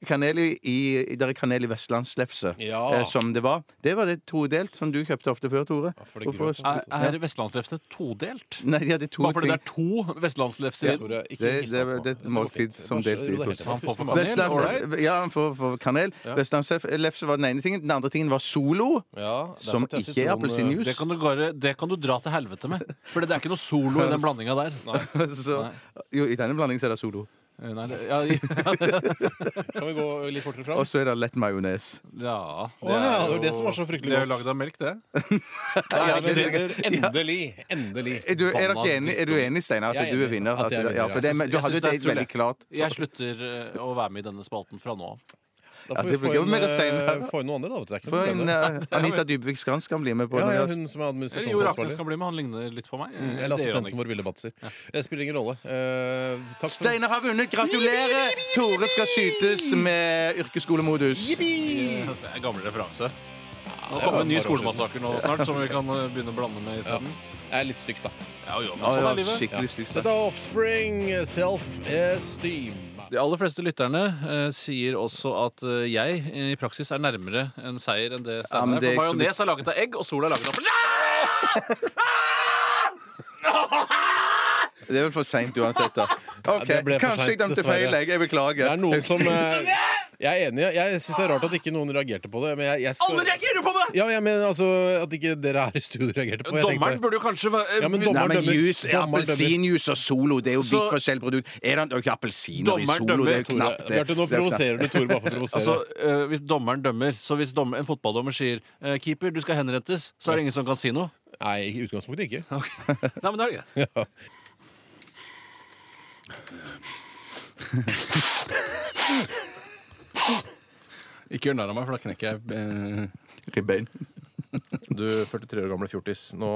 [SPEAKER 3] kanel i, i- det er kanel i vestlandslefse,
[SPEAKER 1] Ja.
[SPEAKER 3] eh, som det var. Det var det todelt, som du kjøpte ofte før, Tore.
[SPEAKER 1] for det
[SPEAKER 3] Og for-
[SPEAKER 1] grøt.
[SPEAKER 2] Er, er vestlandslefse todelt?
[SPEAKER 3] Nei, de hadde to
[SPEAKER 2] Bare fordi
[SPEAKER 3] ting.
[SPEAKER 2] det er to vestlandslefser i den?
[SPEAKER 1] Tore, ikke
[SPEAKER 3] Det,
[SPEAKER 1] hiss
[SPEAKER 3] det,
[SPEAKER 1] deg
[SPEAKER 3] var-
[SPEAKER 1] på.
[SPEAKER 3] det er et måltid som
[SPEAKER 1] Det var-
[SPEAKER 3] delt
[SPEAKER 1] jo,
[SPEAKER 3] i
[SPEAKER 1] det
[SPEAKER 3] to.
[SPEAKER 1] er
[SPEAKER 2] Så han får for
[SPEAKER 1] helt rett.
[SPEAKER 2] kanel? All
[SPEAKER 3] Vestlands-
[SPEAKER 2] right.
[SPEAKER 3] Ja, han får for kanel. Vestlandslefse var den ene tingen. Den andre tingen var Solo,
[SPEAKER 1] Ja, der
[SPEAKER 3] som
[SPEAKER 1] satt jeg
[SPEAKER 3] ikke
[SPEAKER 1] sitron-
[SPEAKER 3] er
[SPEAKER 2] Det
[SPEAKER 3] appelsinjuice.
[SPEAKER 2] kan, du bare, det kan du dra til helvete med. For det er ikke noe solo i den blandinga der. Nei.
[SPEAKER 3] Så- Jo, i denne blandingen så er det Solo.
[SPEAKER 2] Nei, det, ja, ja,
[SPEAKER 1] Kan vi gå litt fortere fram?
[SPEAKER 3] Og så er det lett majones.
[SPEAKER 2] ja,
[SPEAKER 1] Å ja, det var det som var så fryktelig
[SPEAKER 2] Det er jo
[SPEAKER 1] godt.
[SPEAKER 2] lagd av melk, det.
[SPEAKER 1] Ja,
[SPEAKER 3] det-
[SPEAKER 1] vinner. Endelig. Endelig.
[SPEAKER 3] Er du, er dere
[SPEAKER 2] Forbanna
[SPEAKER 3] enig, er du enig, Steinar,
[SPEAKER 1] Jeg
[SPEAKER 3] at
[SPEAKER 1] er
[SPEAKER 3] du er
[SPEAKER 1] enig.
[SPEAKER 3] vinner?
[SPEAKER 1] At
[SPEAKER 3] At
[SPEAKER 1] jeg er
[SPEAKER 3] du- ja,
[SPEAKER 1] vinner,
[SPEAKER 3] for
[SPEAKER 1] ja.
[SPEAKER 3] det, men, du
[SPEAKER 2] Jeg
[SPEAKER 3] hadde
[SPEAKER 2] synes
[SPEAKER 3] jo
[SPEAKER 2] det er
[SPEAKER 3] det veldig klart.
[SPEAKER 2] Jeg slutter eh, å være med i denne spalten fra nå av.
[SPEAKER 1] Da
[SPEAKER 3] Ja,
[SPEAKER 1] får vi
[SPEAKER 3] det
[SPEAKER 1] få
[SPEAKER 3] blir jo
[SPEAKER 1] inn,
[SPEAKER 3] mer å steine
[SPEAKER 1] eh,
[SPEAKER 3] her.
[SPEAKER 1] få inn noe annet, da. vet du. Det er ikke
[SPEAKER 3] For
[SPEAKER 1] noe
[SPEAKER 3] en,
[SPEAKER 1] problem, det.
[SPEAKER 3] eh, Anita Dybvik Skans kan bli med på
[SPEAKER 1] Ja, ja,
[SPEAKER 3] det.
[SPEAKER 1] hun som er
[SPEAKER 2] Eller Jo Raknes
[SPEAKER 1] administrasjonsansvarlig.
[SPEAKER 2] kan bli med. Han ligner litt på meg. Eh,
[SPEAKER 1] Eller
[SPEAKER 2] det gjør han
[SPEAKER 1] assistenten
[SPEAKER 2] ikke.
[SPEAKER 1] vår, Ville Batzer. Det spiller ingen rolle. Eh, takk for
[SPEAKER 3] Steinar har vunnet! Gratulerer! Tore skal skytes med yrkesskolemodus.
[SPEAKER 2] Det er en gammel referanse. Nå kommer en ny skolemassakre nå snart, som vi kan eh, begynne å blande med isteden.
[SPEAKER 1] er litt stygt, da.
[SPEAKER 2] Ja, jo, men
[SPEAKER 3] Ja,
[SPEAKER 2] sånn
[SPEAKER 3] ja,
[SPEAKER 2] er livet.
[SPEAKER 3] skikkelig stygt.
[SPEAKER 1] Dette er Offspring, self-esteem.
[SPEAKER 6] De aller fleste lytterne eh, sier også at eh, jeg eh, i praksis er nærmere en seier enn det
[SPEAKER 3] Ja,
[SPEAKER 6] Steinar
[SPEAKER 3] men
[SPEAKER 6] er.
[SPEAKER 3] det er
[SPEAKER 6] For
[SPEAKER 3] ikke så
[SPEAKER 6] majones er laget av egg, og sol er laget av
[SPEAKER 3] Det er vel for seint uansett, da. OK,
[SPEAKER 1] Ja, det ble for
[SPEAKER 3] kanskje
[SPEAKER 1] sent,
[SPEAKER 3] jeg dømte feil.
[SPEAKER 1] dessverre.
[SPEAKER 3] Jeg, jeg beklager.
[SPEAKER 1] Det er noen som eh, Jeg er enig. Jeg syns det er rart at ikke noen reagerte på det. Men jeg, jeg skal,
[SPEAKER 2] Alle reagerer jo på det!
[SPEAKER 1] Ja, jeg mener altså at ikke dere her i studio reagerte på det. Jeg
[SPEAKER 2] Dommeren
[SPEAKER 1] tenkte-
[SPEAKER 2] burde jo kanskje
[SPEAKER 6] eh,
[SPEAKER 2] være
[SPEAKER 1] Ja, men
[SPEAKER 3] Nei,
[SPEAKER 1] dommeren
[SPEAKER 3] men
[SPEAKER 1] dømmer.
[SPEAKER 3] juice,
[SPEAKER 1] Dommeren dømmer.
[SPEAKER 3] Appelsinjuice og Solo, det er jo
[SPEAKER 2] Så-
[SPEAKER 3] vidt forskjellig produkt. Er det det er jo ikke appelsiner i
[SPEAKER 2] Dommeren
[SPEAKER 3] Solo? Det er
[SPEAKER 2] dømmer,
[SPEAKER 3] jo
[SPEAKER 1] Tore,
[SPEAKER 3] knapt det.
[SPEAKER 1] Bjarte, nå
[SPEAKER 3] Det er knapt.
[SPEAKER 1] provoserer du Tore bare for å provosere.
[SPEAKER 6] Altså, eh, hvis dommeren dømmer Så hvis dommer, en fotballdommer sier eh, Keeper, du skal henrettes, så er det ingen som kan si noe.
[SPEAKER 1] Nei, i utgangspunktet ikke.
[SPEAKER 6] Nei, men da er det greit.
[SPEAKER 2] Ikke gjør narr av meg, for da knekker jeg eh, ribbein.
[SPEAKER 1] Du 43 år gamle fjortis. Nå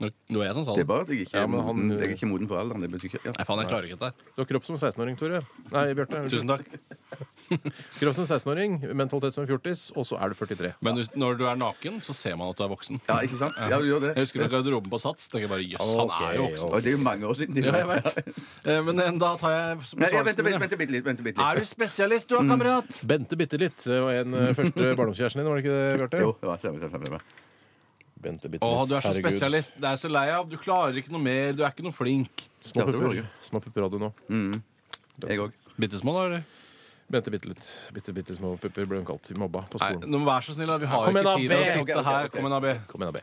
[SPEAKER 2] Nå nå er jeg sånn sa
[SPEAKER 3] Det er
[SPEAKER 2] det.
[SPEAKER 3] bare at jeg ikke,
[SPEAKER 1] Ja, men han-
[SPEAKER 3] jeg er ikke moden for alderen. Det betyr ikke ja.
[SPEAKER 2] Nei, faen, jeg klarer ikke dette.
[SPEAKER 1] Du har kropp som 16-åring, Tore. Nei, Bjarte.
[SPEAKER 2] her. Tusen takk.
[SPEAKER 1] Kropp som 16-åring, mentalitet som fjortis, og så er du 43.
[SPEAKER 2] Men hvis- når du er naken, så ser man at du er voksen.
[SPEAKER 3] ja, ikke sant? Ja, du gjør det.
[SPEAKER 2] Jeg husker fra garderoben på Sats. tenker jeg bare, jøss, han er jo voksen.
[SPEAKER 3] Og det er jo mange år siden.
[SPEAKER 2] Ja, jeg vet. Eh, Men eh, da tar jeg s-
[SPEAKER 3] Nei, ja,
[SPEAKER 2] svansen
[SPEAKER 3] vent, vent,
[SPEAKER 2] min,
[SPEAKER 3] vent, vent litt. Vent, litt.
[SPEAKER 6] Da Er du spesialist, du da,
[SPEAKER 2] Mm.
[SPEAKER 6] kamerat?
[SPEAKER 1] Bente bitte litt var en eh, første barndomskjæresten din, var det ikke det, Bjarte?
[SPEAKER 3] Jo, det var stemmer, stemmer, stemmer.
[SPEAKER 1] Bente bitte
[SPEAKER 2] ja. Å, du er så
[SPEAKER 1] Herregud.
[SPEAKER 2] spesialist. Det er jeg så lei av. Du klarer ikke noe mer. Du er ikke noe flink.
[SPEAKER 1] Små
[SPEAKER 3] Ja, det var
[SPEAKER 1] pupper.
[SPEAKER 3] det.
[SPEAKER 1] Små pupper hadde du nå.
[SPEAKER 3] Jeg òg.
[SPEAKER 2] Bitte små, da? eller?
[SPEAKER 1] Bente bitte litt. Bitte, bitte små pupper ble hun kalt. Mobba på
[SPEAKER 2] Nei,
[SPEAKER 1] skolen.
[SPEAKER 2] nå Vær så snill, da. Vi har
[SPEAKER 1] Kom
[SPEAKER 2] jo ikke
[SPEAKER 1] igjen,
[SPEAKER 2] tid
[SPEAKER 1] da,
[SPEAKER 2] til å
[SPEAKER 1] B.
[SPEAKER 2] sitte her. Kom igjen, AB.
[SPEAKER 1] Kom igjen, da, B.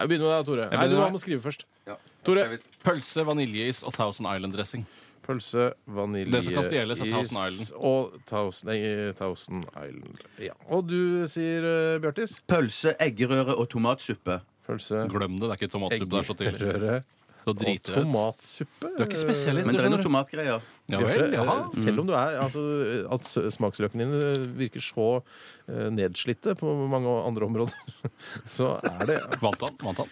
[SPEAKER 1] Jeg begynner med deg, Tore. Nei,
[SPEAKER 2] begynner
[SPEAKER 1] du
[SPEAKER 2] med
[SPEAKER 1] må-
[SPEAKER 2] meg.
[SPEAKER 1] må skrive først.
[SPEAKER 3] Ja.
[SPEAKER 1] Tore.
[SPEAKER 2] Pølse, vaniljeis og Thousand Island-dressing.
[SPEAKER 1] Pølse, vanilje,
[SPEAKER 2] Det som kan stjeles er Thousand
[SPEAKER 1] is og Thousand, nei, Thousand Island. Ja. Og du sier, eh, Bjartis?
[SPEAKER 3] Pølse, eggerøre og tomatsuppe.
[SPEAKER 1] Pølse,
[SPEAKER 2] Glem det. Det er ikke tomatsuppe. Det er så tidlig.
[SPEAKER 1] eggerøre
[SPEAKER 2] Da
[SPEAKER 1] og
[SPEAKER 2] driter jeg ut.
[SPEAKER 1] tomatsuppe.
[SPEAKER 2] Du er ikke spesialist,
[SPEAKER 3] Men
[SPEAKER 2] du
[SPEAKER 3] det er
[SPEAKER 2] skjønner.
[SPEAKER 3] noen
[SPEAKER 2] du.
[SPEAKER 3] tomatgreier.
[SPEAKER 2] Ja
[SPEAKER 1] Bjarte,
[SPEAKER 2] vel, jaha. Mm.
[SPEAKER 1] eh, Selv om du er altså, At s- smaksløkene dine virker så eh, nedslitte på mange andre områder, så er det
[SPEAKER 2] Vant han? Vant han?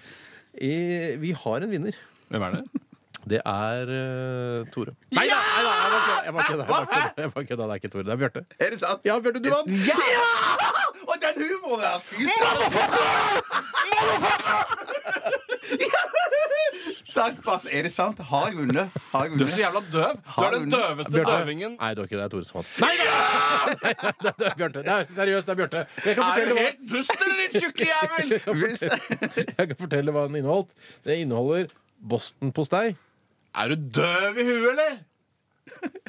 [SPEAKER 1] i, Vi har en vinner.
[SPEAKER 2] Hvem er det?
[SPEAKER 1] Det er eh, Tore. Nei da! nei da, Jeg bare kødda. jeg bare kødda, Jeg bare kødda. Det er ikke Tore, det er Bjarte.
[SPEAKER 3] Er det sant?
[SPEAKER 1] Ja, Bjarte, du vant!
[SPEAKER 3] Og den humoren der! Fy søren! Takk, Bass. Er det sant? Har jeg vunnet? Har jeg
[SPEAKER 2] Du er så
[SPEAKER 3] vunnet?
[SPEAKER 2] jævla døv! Du er den døveste
[SPEAKER 1] Bjarte.
[SPEAKER 2] døvingen.
[SPEAKER 1] Nei, det var ikke det. Det er Tore som vant. Nei, nei, det er Bjarte. Nei, seriøst, det er Bjarte. Jeg kan,
[SPEAKER 2] Er du
[SPEAKER 1] fortelle hva,
[SPEAKER 2] helt dust, eller ditt tjukke jævel?
[SPEAKER 1] jeg kan fortelle hva den inneholdt. Det inneholder Boston-postei.
[SPEAKER 2] Er du døv i huet, eller?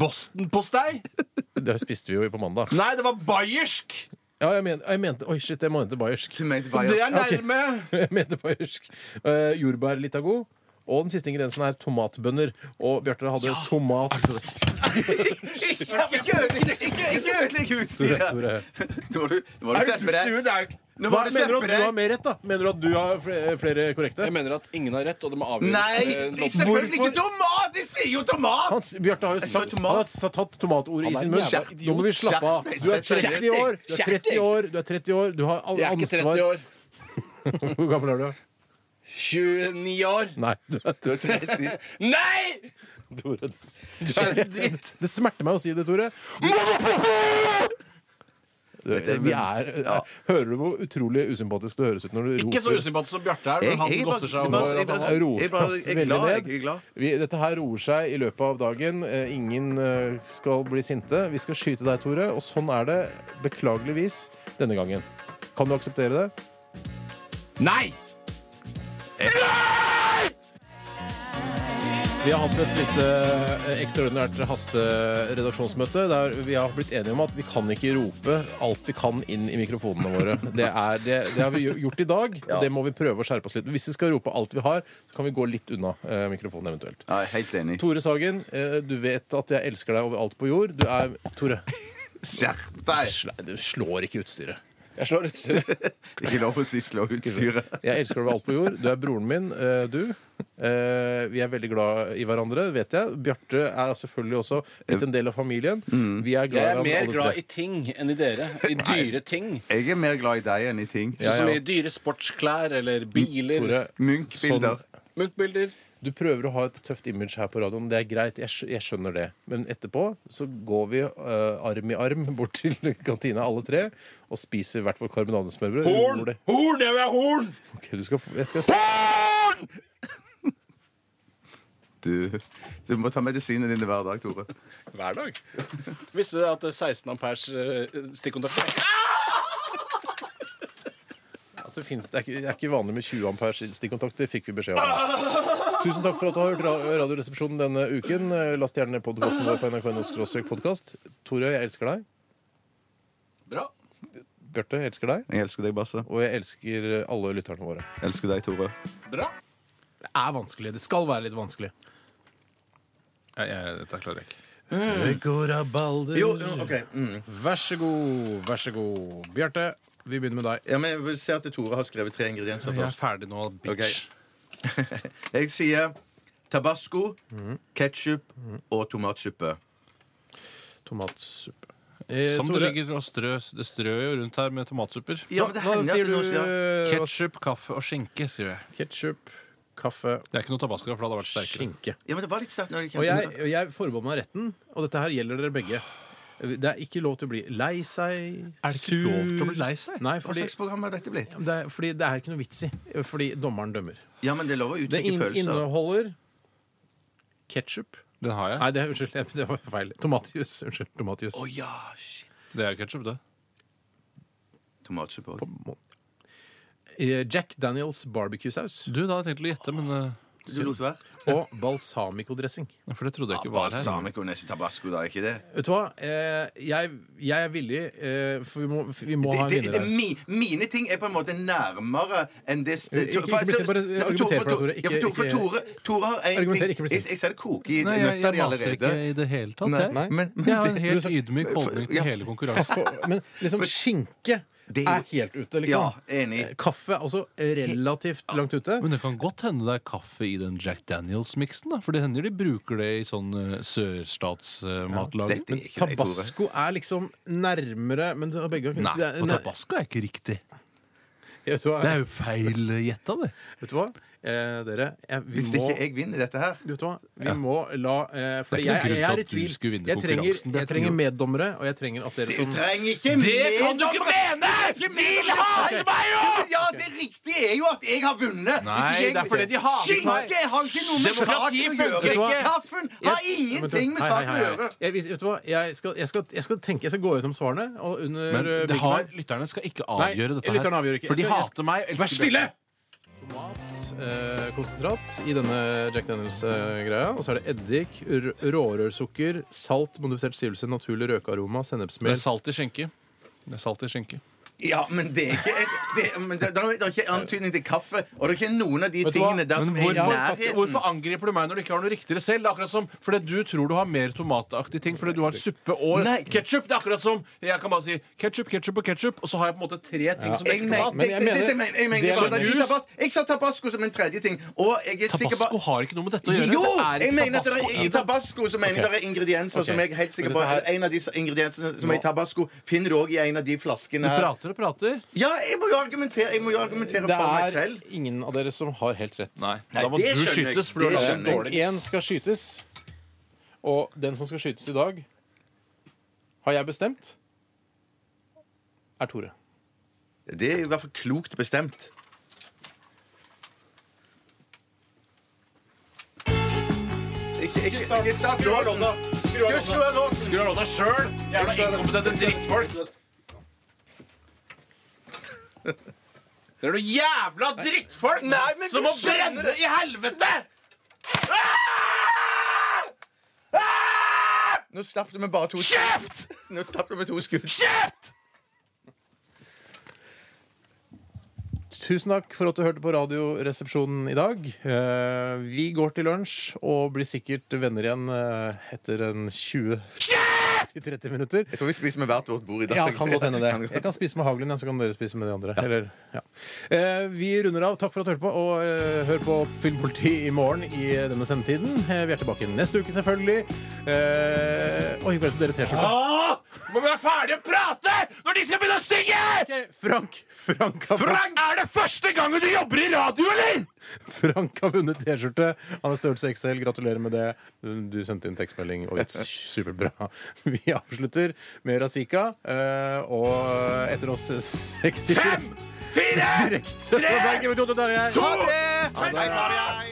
[SPEAKER 2] Bostonpostei?
[SPEAKER 1] Det spiste vi jo på mandag.
[SPEAKER 2] Nei, det var bayersk!
[SPEAKER 1] Ja, jeg, men, jeg mente Oi, shit, jeg mente bayersk.
[SPEAKER 3] Du mente
[SPEAKER 2] Det
[SPEAKER 3] bare
[SPEAKER 2] er nærme!
[SPEAKER 1] Jeg mente bayersk. Uh, jordbær litt av god. Og den siste ingrediensen er tomatbønner. Og Bjarte hadde tomat...
[SPEAKER 3] Ikke ødelegg- ikke- ikke ødelegg
[SPEAKER 1] Tore,
[SPEAKER 3] utstyret!
[SPEAKER 1] Tore.
[SPEAKER 3] Nå må du- nå må du skjerpe deg. Nå
[SPEAKER 1] Hva
[SPEAKER 3] må du
[SPEAKER 1] mener du at
[SPEAKER 3] skjerpe
[SPEAKER 1] du har
[SPEAKER 3] deg.
[SPEAKER 1] mer rett, da? Mener du at du har flere, flere korrekte?
[SPEAKER 2] mener at ingen har rett, og det må
[SPEAKER 3] Nei,
[SPEAKER 2] Eh,
[SPEAKER 3] selvfølgelig ikke tomat! De sier jo tomat!
[SPEAKER 1] Hans, Bjarte har jo
[SPEAKER 3] sa
[SPEAKER 1] sagt,
[SPEAKER 3] tomat.
[SPEAKER 1] han har tatt- tatt tomatordet i sin munn.
[SPEAKER 3] jævla idiot.
[SPEAKER 1] Nå må vi slappe av.
[SPEAKER 3] Kjeft.
[SPEAKER 1] Du er 30 år, du er 30 år, du, er 30 år, du har alle ansvar
[SPEAKER 2] år.
[SPEAKER 1] Hvor gammel er du?
[SPEAKER 2] 29 år.
[SPEAKER 1] Nei, du er du er 30
[SPEAKER 2] Nei!
[SPEAKER 1] Tore. Du er- Det smerter meg å si det, Tore. Du, vi er, hører du hvor utrolig usympatisk det høres ut når du
[SPEAKER 2] Ikke så
[SPEAKER 1] roper?
[SPEAKER 2] usympatisk som Bjarte er, når han godter seg
[SPEAKER 1] bare-
[SPEAKER 2] over
[SPEAKER 1] at han roer
[SPEAKER 3] Jeg bare-
[SPEAKER 1] oss
[SPEAKER 3] jeg er
[SPEAKER 1] veldig
[SPEAKER 3] glad, jeg
[SPEAKER 1] ned.
[SPEAKER 3] jeg er glad.
[SPEAKER 1] Vi, dette her roer seg i løpet av dagen. Eh, ingen eh, skal bli sinte. Vi skal skyte deg, Tore, og sånn er det beklageligvis denne gangen. Kan du akseptere det?
[SPEAKER 2] Nei!
[SPEAKER 1] Vi har hatt et lite eh, ekstraordinært hasteredaksjonsmøte der vi har blitt enige om at vi kan ikke rope alt vi kan inn i mikrofonene våre. Det, er, det, det har vi jo gjort i dag, og det må vi prøve å skjerpe oss litt. Hvis vi skal rope alt vi har, så kan vi gå litt unna eh, mikrofonen eventuelt.
[SPEAKER 3] Ja, jeg er helt enig.
[SPEAKER 1] Tore Sagen, eh, du vet at jeg elsker deg over alt på jord. Du er Tore,
[SPEAKER 3] Skjerp deg!
[SPEAKER 1] sl- du slår ikke utstyret.
[SPEAKER 2] Jeg slår ut.
[SPEAKER 3] Ikke lov å si slå utstyret.
[SPEAKER 1] Jeg elsker deg over alt på jord. Du er broren min, eh, du. Eh, Vi er veldig glad i hverandre, vet jeg. Bjarte er selvfølgelig også blitt en del av familien. Vi er glad i
[SPEAKER 6] Jeg er
[SPEAKER 1] ham
[SPEAKER 6] mer
[SPEAKER 1] alle tre.
[SPEAKER 6] glad i ting enn i dere. I dyre ting.
[SPEAKER 3] Jeg er mer glad i deg enn i ting.
[SPEAKER 1] Ja,
[SPEAKER 6] Sånn som
[SPEAKER 1] ja.
[SPEAKER 6] i dyre sportsklær eller biler.
[SPEAKER 1] Tore,
[SPEAKER 3] Munch-bilder.
[SPEAKER 1] sånn-
[SPEAKER 6] Munchbilder.
[SPEAKER 7] Du prøver å ha et tøft image her på radioen. Det er greit, jeg, skj- jeg skjønner det. Men etterpå så går vi eh, arm i arm bort til kantina alle tre og spiser hvert vårt karbonadesmørbrød. Horn! Horn! Jeg vil ha horn! Ok, du skal, få- jeg skal se.
[SPEAKER 3] Du, du må ta medisinene dine hver dag, Tore.
[SPEAKER 8] Hver dag. Visste du at eh, 16 amperes eh, stikkontakt
[SPEAKER 7] Altså, finnes, det, er ikke, det er ikke vanlig med 20 amperes stikkontakter, fikk vi beskjed om. Tusen takk for at du har hørt Ra- Radioresepsjonen denne uken. Eh, Last gjerne ned podkasten vår på nrk.no podkast. Tore, jeg elsker deg.
[SPEAKER 8] Bra.
[SPEAKER 7] Bjarte, jeg elsker deg.
[SPEAKER 3] Jeg elsker deg, Basse.
[SPEAKER 7] Og jeg elsker alle lytterne våre.
[SPEAKER 3] Jeg elsker deg, Tore.
[SPEAKER 8] Bra.
[SPEAKER 1] Det er vanskelig. Det skal være litt vanskelig.
[SPEAKER 8] Nei, jeg, dette klarer jeg ikke.
[SPEAKER 2] Mm.
[SPEAKER 3] Jo, jo, ok. Mm.
[SPEAKER 1] Vær så god, vær så god. Bjarte, vi begynner med deg.
[SPEAKER 3] Ja, men jeg vil se at Tore har skrevet tre ingredienser
[SPEAKER 8] Jeg er
[SPEAKER 3] først.
[SPEAKER 8] ferdig nå, bitch.
[SPEAKER 3] Jeg sier tabasco, ketsjup og tomatsuppe.
[SPEAKER 1] Tomatsuppe.
[SPEAKER 7] Eh,
[SPEAKER 2] Som det
[SPEAKER 1] Tore,
[SPEAKER 2] Eh, ligger og strø, det strør jo rundt her med tomatsupper.
[SPEAKER 3] Ja, men det
[SPEAKER 1] hva
[SPEAKER 3] hender at
[SPEAKER 1] sier
[SPEAKER 3] det
[SPEAKER 1] du?
[SPEAKER 3] noen sier
[SPEAKER 2] Ketchup, kaffe og skinke, sier
[SPEAKER 7] Eh,
[SPEAKER 2] jeg.
[SPEAKER 1] Ketsjup, kaffe,
[SPEAKER 2] Det er ikke noe tabasco, for det hadde vært sterkere.
[SPEAKER 1] skinke.
[SPEAKER 3] Ja, men det var litt sterkt når det
[SPEAKER 1] Og
[SPEAKER 3] kjente
[SPEAKER 1] jeg, og jeg forbeholder meg retten, og dette her gjelder dere begge. Det er ikke lov til å bli lei seg,
[SPEAKER 2] Er det ikke lov til å bli lei seg?
[SPEAKER 1] Nei,
[SPEAKER 3] Hva
[SPEAKER 1] fordi
[SPEAKER 3] slags program er dette blitt?
[SPEAKER 1] det, er, fordi det er ikke noe vits i. Fordi dommeren dømmer.
[SPEAKER 3] Ja, men det lover å
[SPEAKER 1] Det
[SPEAKER 3] uttrykke
[SPEAKER 1] inn-
[SPEAKER 3] følelser.
[SPEAKER 1] inneholder ketsjup
[SPEAKER 2] Den har jeg.
[SPEAKER 1] Nei, det, unnskyld, jeg- det var feil. Tomatjus. Unnskyld. Tomatjus.
[SPEAKER 3] Å ja, shit.
[SPEAKER 2] Det er ketsjup, det.
[SPEAKER 3] Tomatsuppe. også.
[SPEAKER 1] Eh, Jack Daniels barbecue-saus
[SPEAKER 2] Du, da hadde jeg tenkt å gjette, men eh,
[SPEAKER 3] Du lot være?
[SPEAKER 1] og balsamico-dressing.
[SPEAKER 2] For det trodde jeg ikke var her.
[SPEAKER 3] Balsamico nesi tabasco, da, er ikke det?
[SPEAKER 1] Vet du hva? Eh, jeg, jeg er villig, eh, for vi må, vi må ha en
[SPEAKER 3] det,
[SPEAKER 1] vinner
[SPEAKER 3] det, det,
[SPEAKER 1] her.
[SPEAKER 3] mi, mine ting er på en måte nærmere enn det st-
[SPEAKER 1] Ikke- ikke
[SPEAKER 3] for-
[SPEAKER 1] bli sint, bare
[SPEAKER 3] Ja,
[SPEAKER 1] argumenter for det, Tore.
[SPEAKER 3] ja, for Tore, for
[SPEAKER 1] Ikke-
[SPEAKER 3] Tore, Tore har en
[SPEAKER 1] Argumenter,
[SPEAKER 3] ting
[SPEAKER 1] ikke bli
[SPEAKER 3] Jeg,
[SPEAKER 1] sint.
[SPEAKER 3] jeg ser det koke i
[SPEAKER 2] Nei, jeg,
[SPEAKER 3] nøtta di
[SPEAKER 2] jeg maser ikke
[SPEAKER 3] allerede.
[SPEAKER 2] i det hele tatt.
[SPEAKER 3] Nei,
[SPEAKER 2] jeg.
[SPEAKER 3] nei, men- men
[SPEAKER 2] jeg har en
[SPEAKER 3] det-
[SPEAKER 2] helt
[SPEAKER 3] men-
[SPEAKER 2] ydmyk holdning til
[SPEAKER 3] Ja.
[SPEAKER 2] hele konkurransen.
[SPEAKER 1] For- Men liksom skinke
[SPEAKER 3] Det er
[SPEAKER 1] er
[SPEAKER 3] jo-
[SPEAKER 1] helt ute,
[SPEAKER 3] Ja,
[SPEAKER 1] liksom.
[SPEAKER 3] enig.
[SPEAKER 1] Eh, Kaffe er også relativt langt ute.
[SPEAKER 2] Men det kan godt hende det er kaffe i den Jack Daniels-miksen, da. For det hender de bruker det i sånn sørstatsmatlaging.
[SPEAKER 3] Dette er ikke deg, Tore.
[SPEAKER 1] Tabasco er liksom nærmere Men det har begge
[SPEAKER 2] Nei,
[SPEAKER 1] det er-
[SPEAKER 2] og tabasco er ikke riktig.
[SPEAKER 1] Vet du hva?
[SPEAKER 2] Det er jo feil eh, gjetta, det.
[SPEAKER 1] Vet du hva? Eh, dere, jeg, vi
[SPEAKER 3] Hvis
[SPEAKER 1] må
[SPEAKER 3] ikke jeg vinner dette her
[SPEAKER 1] Vet du hva? Vi må la eh, Fordi jeg,
[SPEAKER 2] Det er ikke noen
[SPEAKER 1] jeg, er i
[SPEAKER 2] grunn til at du
[SPEAKER 1] tvil.
[SPEAKER 2] skulle vinne
[SPEAKER 1] Jeg trenger,
[SPEAKER 2] konkurransen, Bjarte.
[SPEAKER 1] jeg trenger meddommere, og jeg trenger at dere
[SPEAKER 3] Du
[SPEAKER 1] som
[SPEAKER 3] trenger ikke mer dommere!
[SPEAKER 2] mene!
[SPEAKER 3] Ikke mer dommere! Ja, det riktige er jo at jeg har
[SPEAKER 2] Nei,
[SPEAKER 3] vunnet. Hvis ikke jeg-
[SPEAKER 2] det er fordi de hater
[SPEAKER 3] Skinke har ikke noe med
[SPEAKER 2] Demokrati
[SPEAKER 3] saken å
[SPEAKER 2] funker
[SPEAKER 3] gjøre.
[SPEAKER 2] ikke.
[SPEAKER 3] Kaffen har ingenting med
[SPEAKER 1] Hei, hei,
[SPEAKER 3] saken å
[SPEAKER 1] hei, hei.
[SPEAKER 3] gjøre.
[SPEAKER 1] Jeg, vis- vet du hva? Jeg skal, jeg, skal, jeg skal tenke Jeg skal gå gjennom svarene. Og under
[SPEAKER 2] Men
[SPEAKER 1] eh,
[SPEAKER 2] det
[SPEAKER 1] byggen
[SPEAKER 2] har,
[SPEAKER 1] her.
[SPEAKER 2] lytterne skal ikke avgjøre dette her.
[SPEAKER 1] lytterne avgjør ikke.
[SPEAKER 2] For de
[SPEAKER 1] Jeg skal- jeg
[SPEAKER 2] hater meg. elsker
[SPEAKER 1] Vær stille!
[SPEAKER 2] Bjarte.
[SPEAKER 1] Eh, konsentrat i denne Jack Daniels-greia. og så er det eddik, r- rårørsukker, salt, modifisert stivelse, naturlig røkearoma,
[SPEAKER 2] Det er
[SPEAKER 1] sennepsmel
[SPEAKER 2] salt i skjenke. Det er salt i skjenke.
[SPEAKER 3] Ja, men det er ikke et, det, men det, det er ikke antydning til kaffe, og det er ikke noen av de
[SPEAKER 2] Vet du hva?
[SPEAKER 3] tingene der som
[SPEAKER 2] Men
[SPEAKER 3] er i
[SPEAKER 2] hvorfor,
[SPEAKER 3] nærheten.
[SPEAKER 2] hvorfor angriper du meg når du ikke har noe riktigere selv? Det er akkurat som fordi du tror du har mer tomataktige ting fordi du har suppe og
[SPEAKER 3] Nei.
[SPEAKER 2] ketsjup. Det er akkurat som jeg kan bare si ketsjup, ketsjup og ketsjup, og så har jeg på en måte tre ting som
[SPEAKER 3] Jeg
[SPEAKER 2] dekker
[SPEAKER 3] mener,
[SPEAKER 2] tomat.
[SPEAKER 3] det, det, det, jeg mener, jeg mener,
[SPEAKER 2] det er
[SPEAKER 3] sånn at
[SPEAKER 2] jus.
[SPEAKER 3] i tabas, jeg sa tabasco som en tredje ting, og jeg er sikker på
[SPEAKER 2] Tabasco har ikke noe med dette å gjøre.
[SPEAKER 3] Jo!
[SPEAKER 2] det er
[SPEAKER 3] Jeg
[SPEAKER 2] ikke
[SPEAKER 3] mener at det
[SPEAKER 2] tabasco
[SPEAKER 3] er,
[SPEAKER 2] i
[SPEAKER 3] I
[SPEAKER 2] det.
[SPEAKER 3] tabasco så mener jeg det er ingredienser som jeg er helt sikker på
[SPEAKER 1] dette her-
[SPEAKER 3] En av disse ingrediensene som er i tabasco, finner du òg i en av de
[SPEAKER 2] Du
[SPEAKER 3] flaskene. her.
[SPEAKER 2] prater og prater.
[SPEAKER 3] Ja, jeg må jo argumentere, jeg må jo argumentere
[SPEAKER 1] Det
[SPEAKER 3] for meg
[SPEAKER 1] er
[SPEAKER 3] selv.
[SPEAKER 1] ingen av dere som har helt rett.
[SPEAKER 2] Nei,
[SPEAKER 3] Nei,
[SPEAKER 2] da må du
[SPEAKER 3] det skjønner jeg.
[SPEAKER 2] skytes, for du
[SPEAKER 3] Det
[SPEAKER 2] har lagd en
[SPEAKER 3] skjønner jeg.
[SPEAKER 7] Eh,
[SPEAKER 2] dårlig
[SPEAKER 1] Én skal skytes, og den som skal skytes i dag, har jeg bestemt, er Tore.
[SPEAKER 3] Det er i hvert fall klokt bestemt. Ikke, ikke, ikke start låten. Skru av låten.
[SPEAKER 2] Skulle ha låta sjøl! Jævla inkompetente drittfolk! Det er noen jævla drittfolk som må brenne i helvete!
[SPEAKER 3] Nå slapp du med bare to Kjeft! Nå slapp du med to skudd.
[SPEAKER 7] Tusen takk for at du hørte på Radioresepsjonen i dag. Eh, Vi går til lunsj og blir sikkert venner igjen eh, etter en 20-30 minutter.
[SPEAKER 3] Jeg tror vi spiser med hvert vårt bord i dag.
[SPEAKER 7] Ja, kan godt hende
[SPEAKER 3] Kan
[SPEAKER 7] det.
[SPEAKER 3] godt.
[SPEAKER 7] Jeg kan spise med haglen, ja, så kan dere spise med de andre. Eller, ja. eh, vi runder av. Takk for at du hørte på, og eh, hør på Filmpoliti i morgen i denne sendetiden. Eh, vi er tilbake neste uke, selvfølgelig. Eh, oi, glemte dere T-skjorta?
[SPEAKER 2] Ah! Må vi være ferdige å prate når de skal begynne å synge!
[SPEAKER 1] Frank Frank har,
[SPEAKER 2] Frank, er det første gangen du jobber i radio, eller?
[SPEAKER 1] Frank har vunnet T-skjorte. Han er størrelse XL. Gratulerer med det. Du sendte inn tekstmelding, og it's superbra. Vi avslutter med Razika, eh, og etter oss sexy
[SPEAKER 2] Fem, fire,
[SPEAKER 1] Direkte fra Bergen med Tore Tarjei.
[SPEAKER 2] to, én!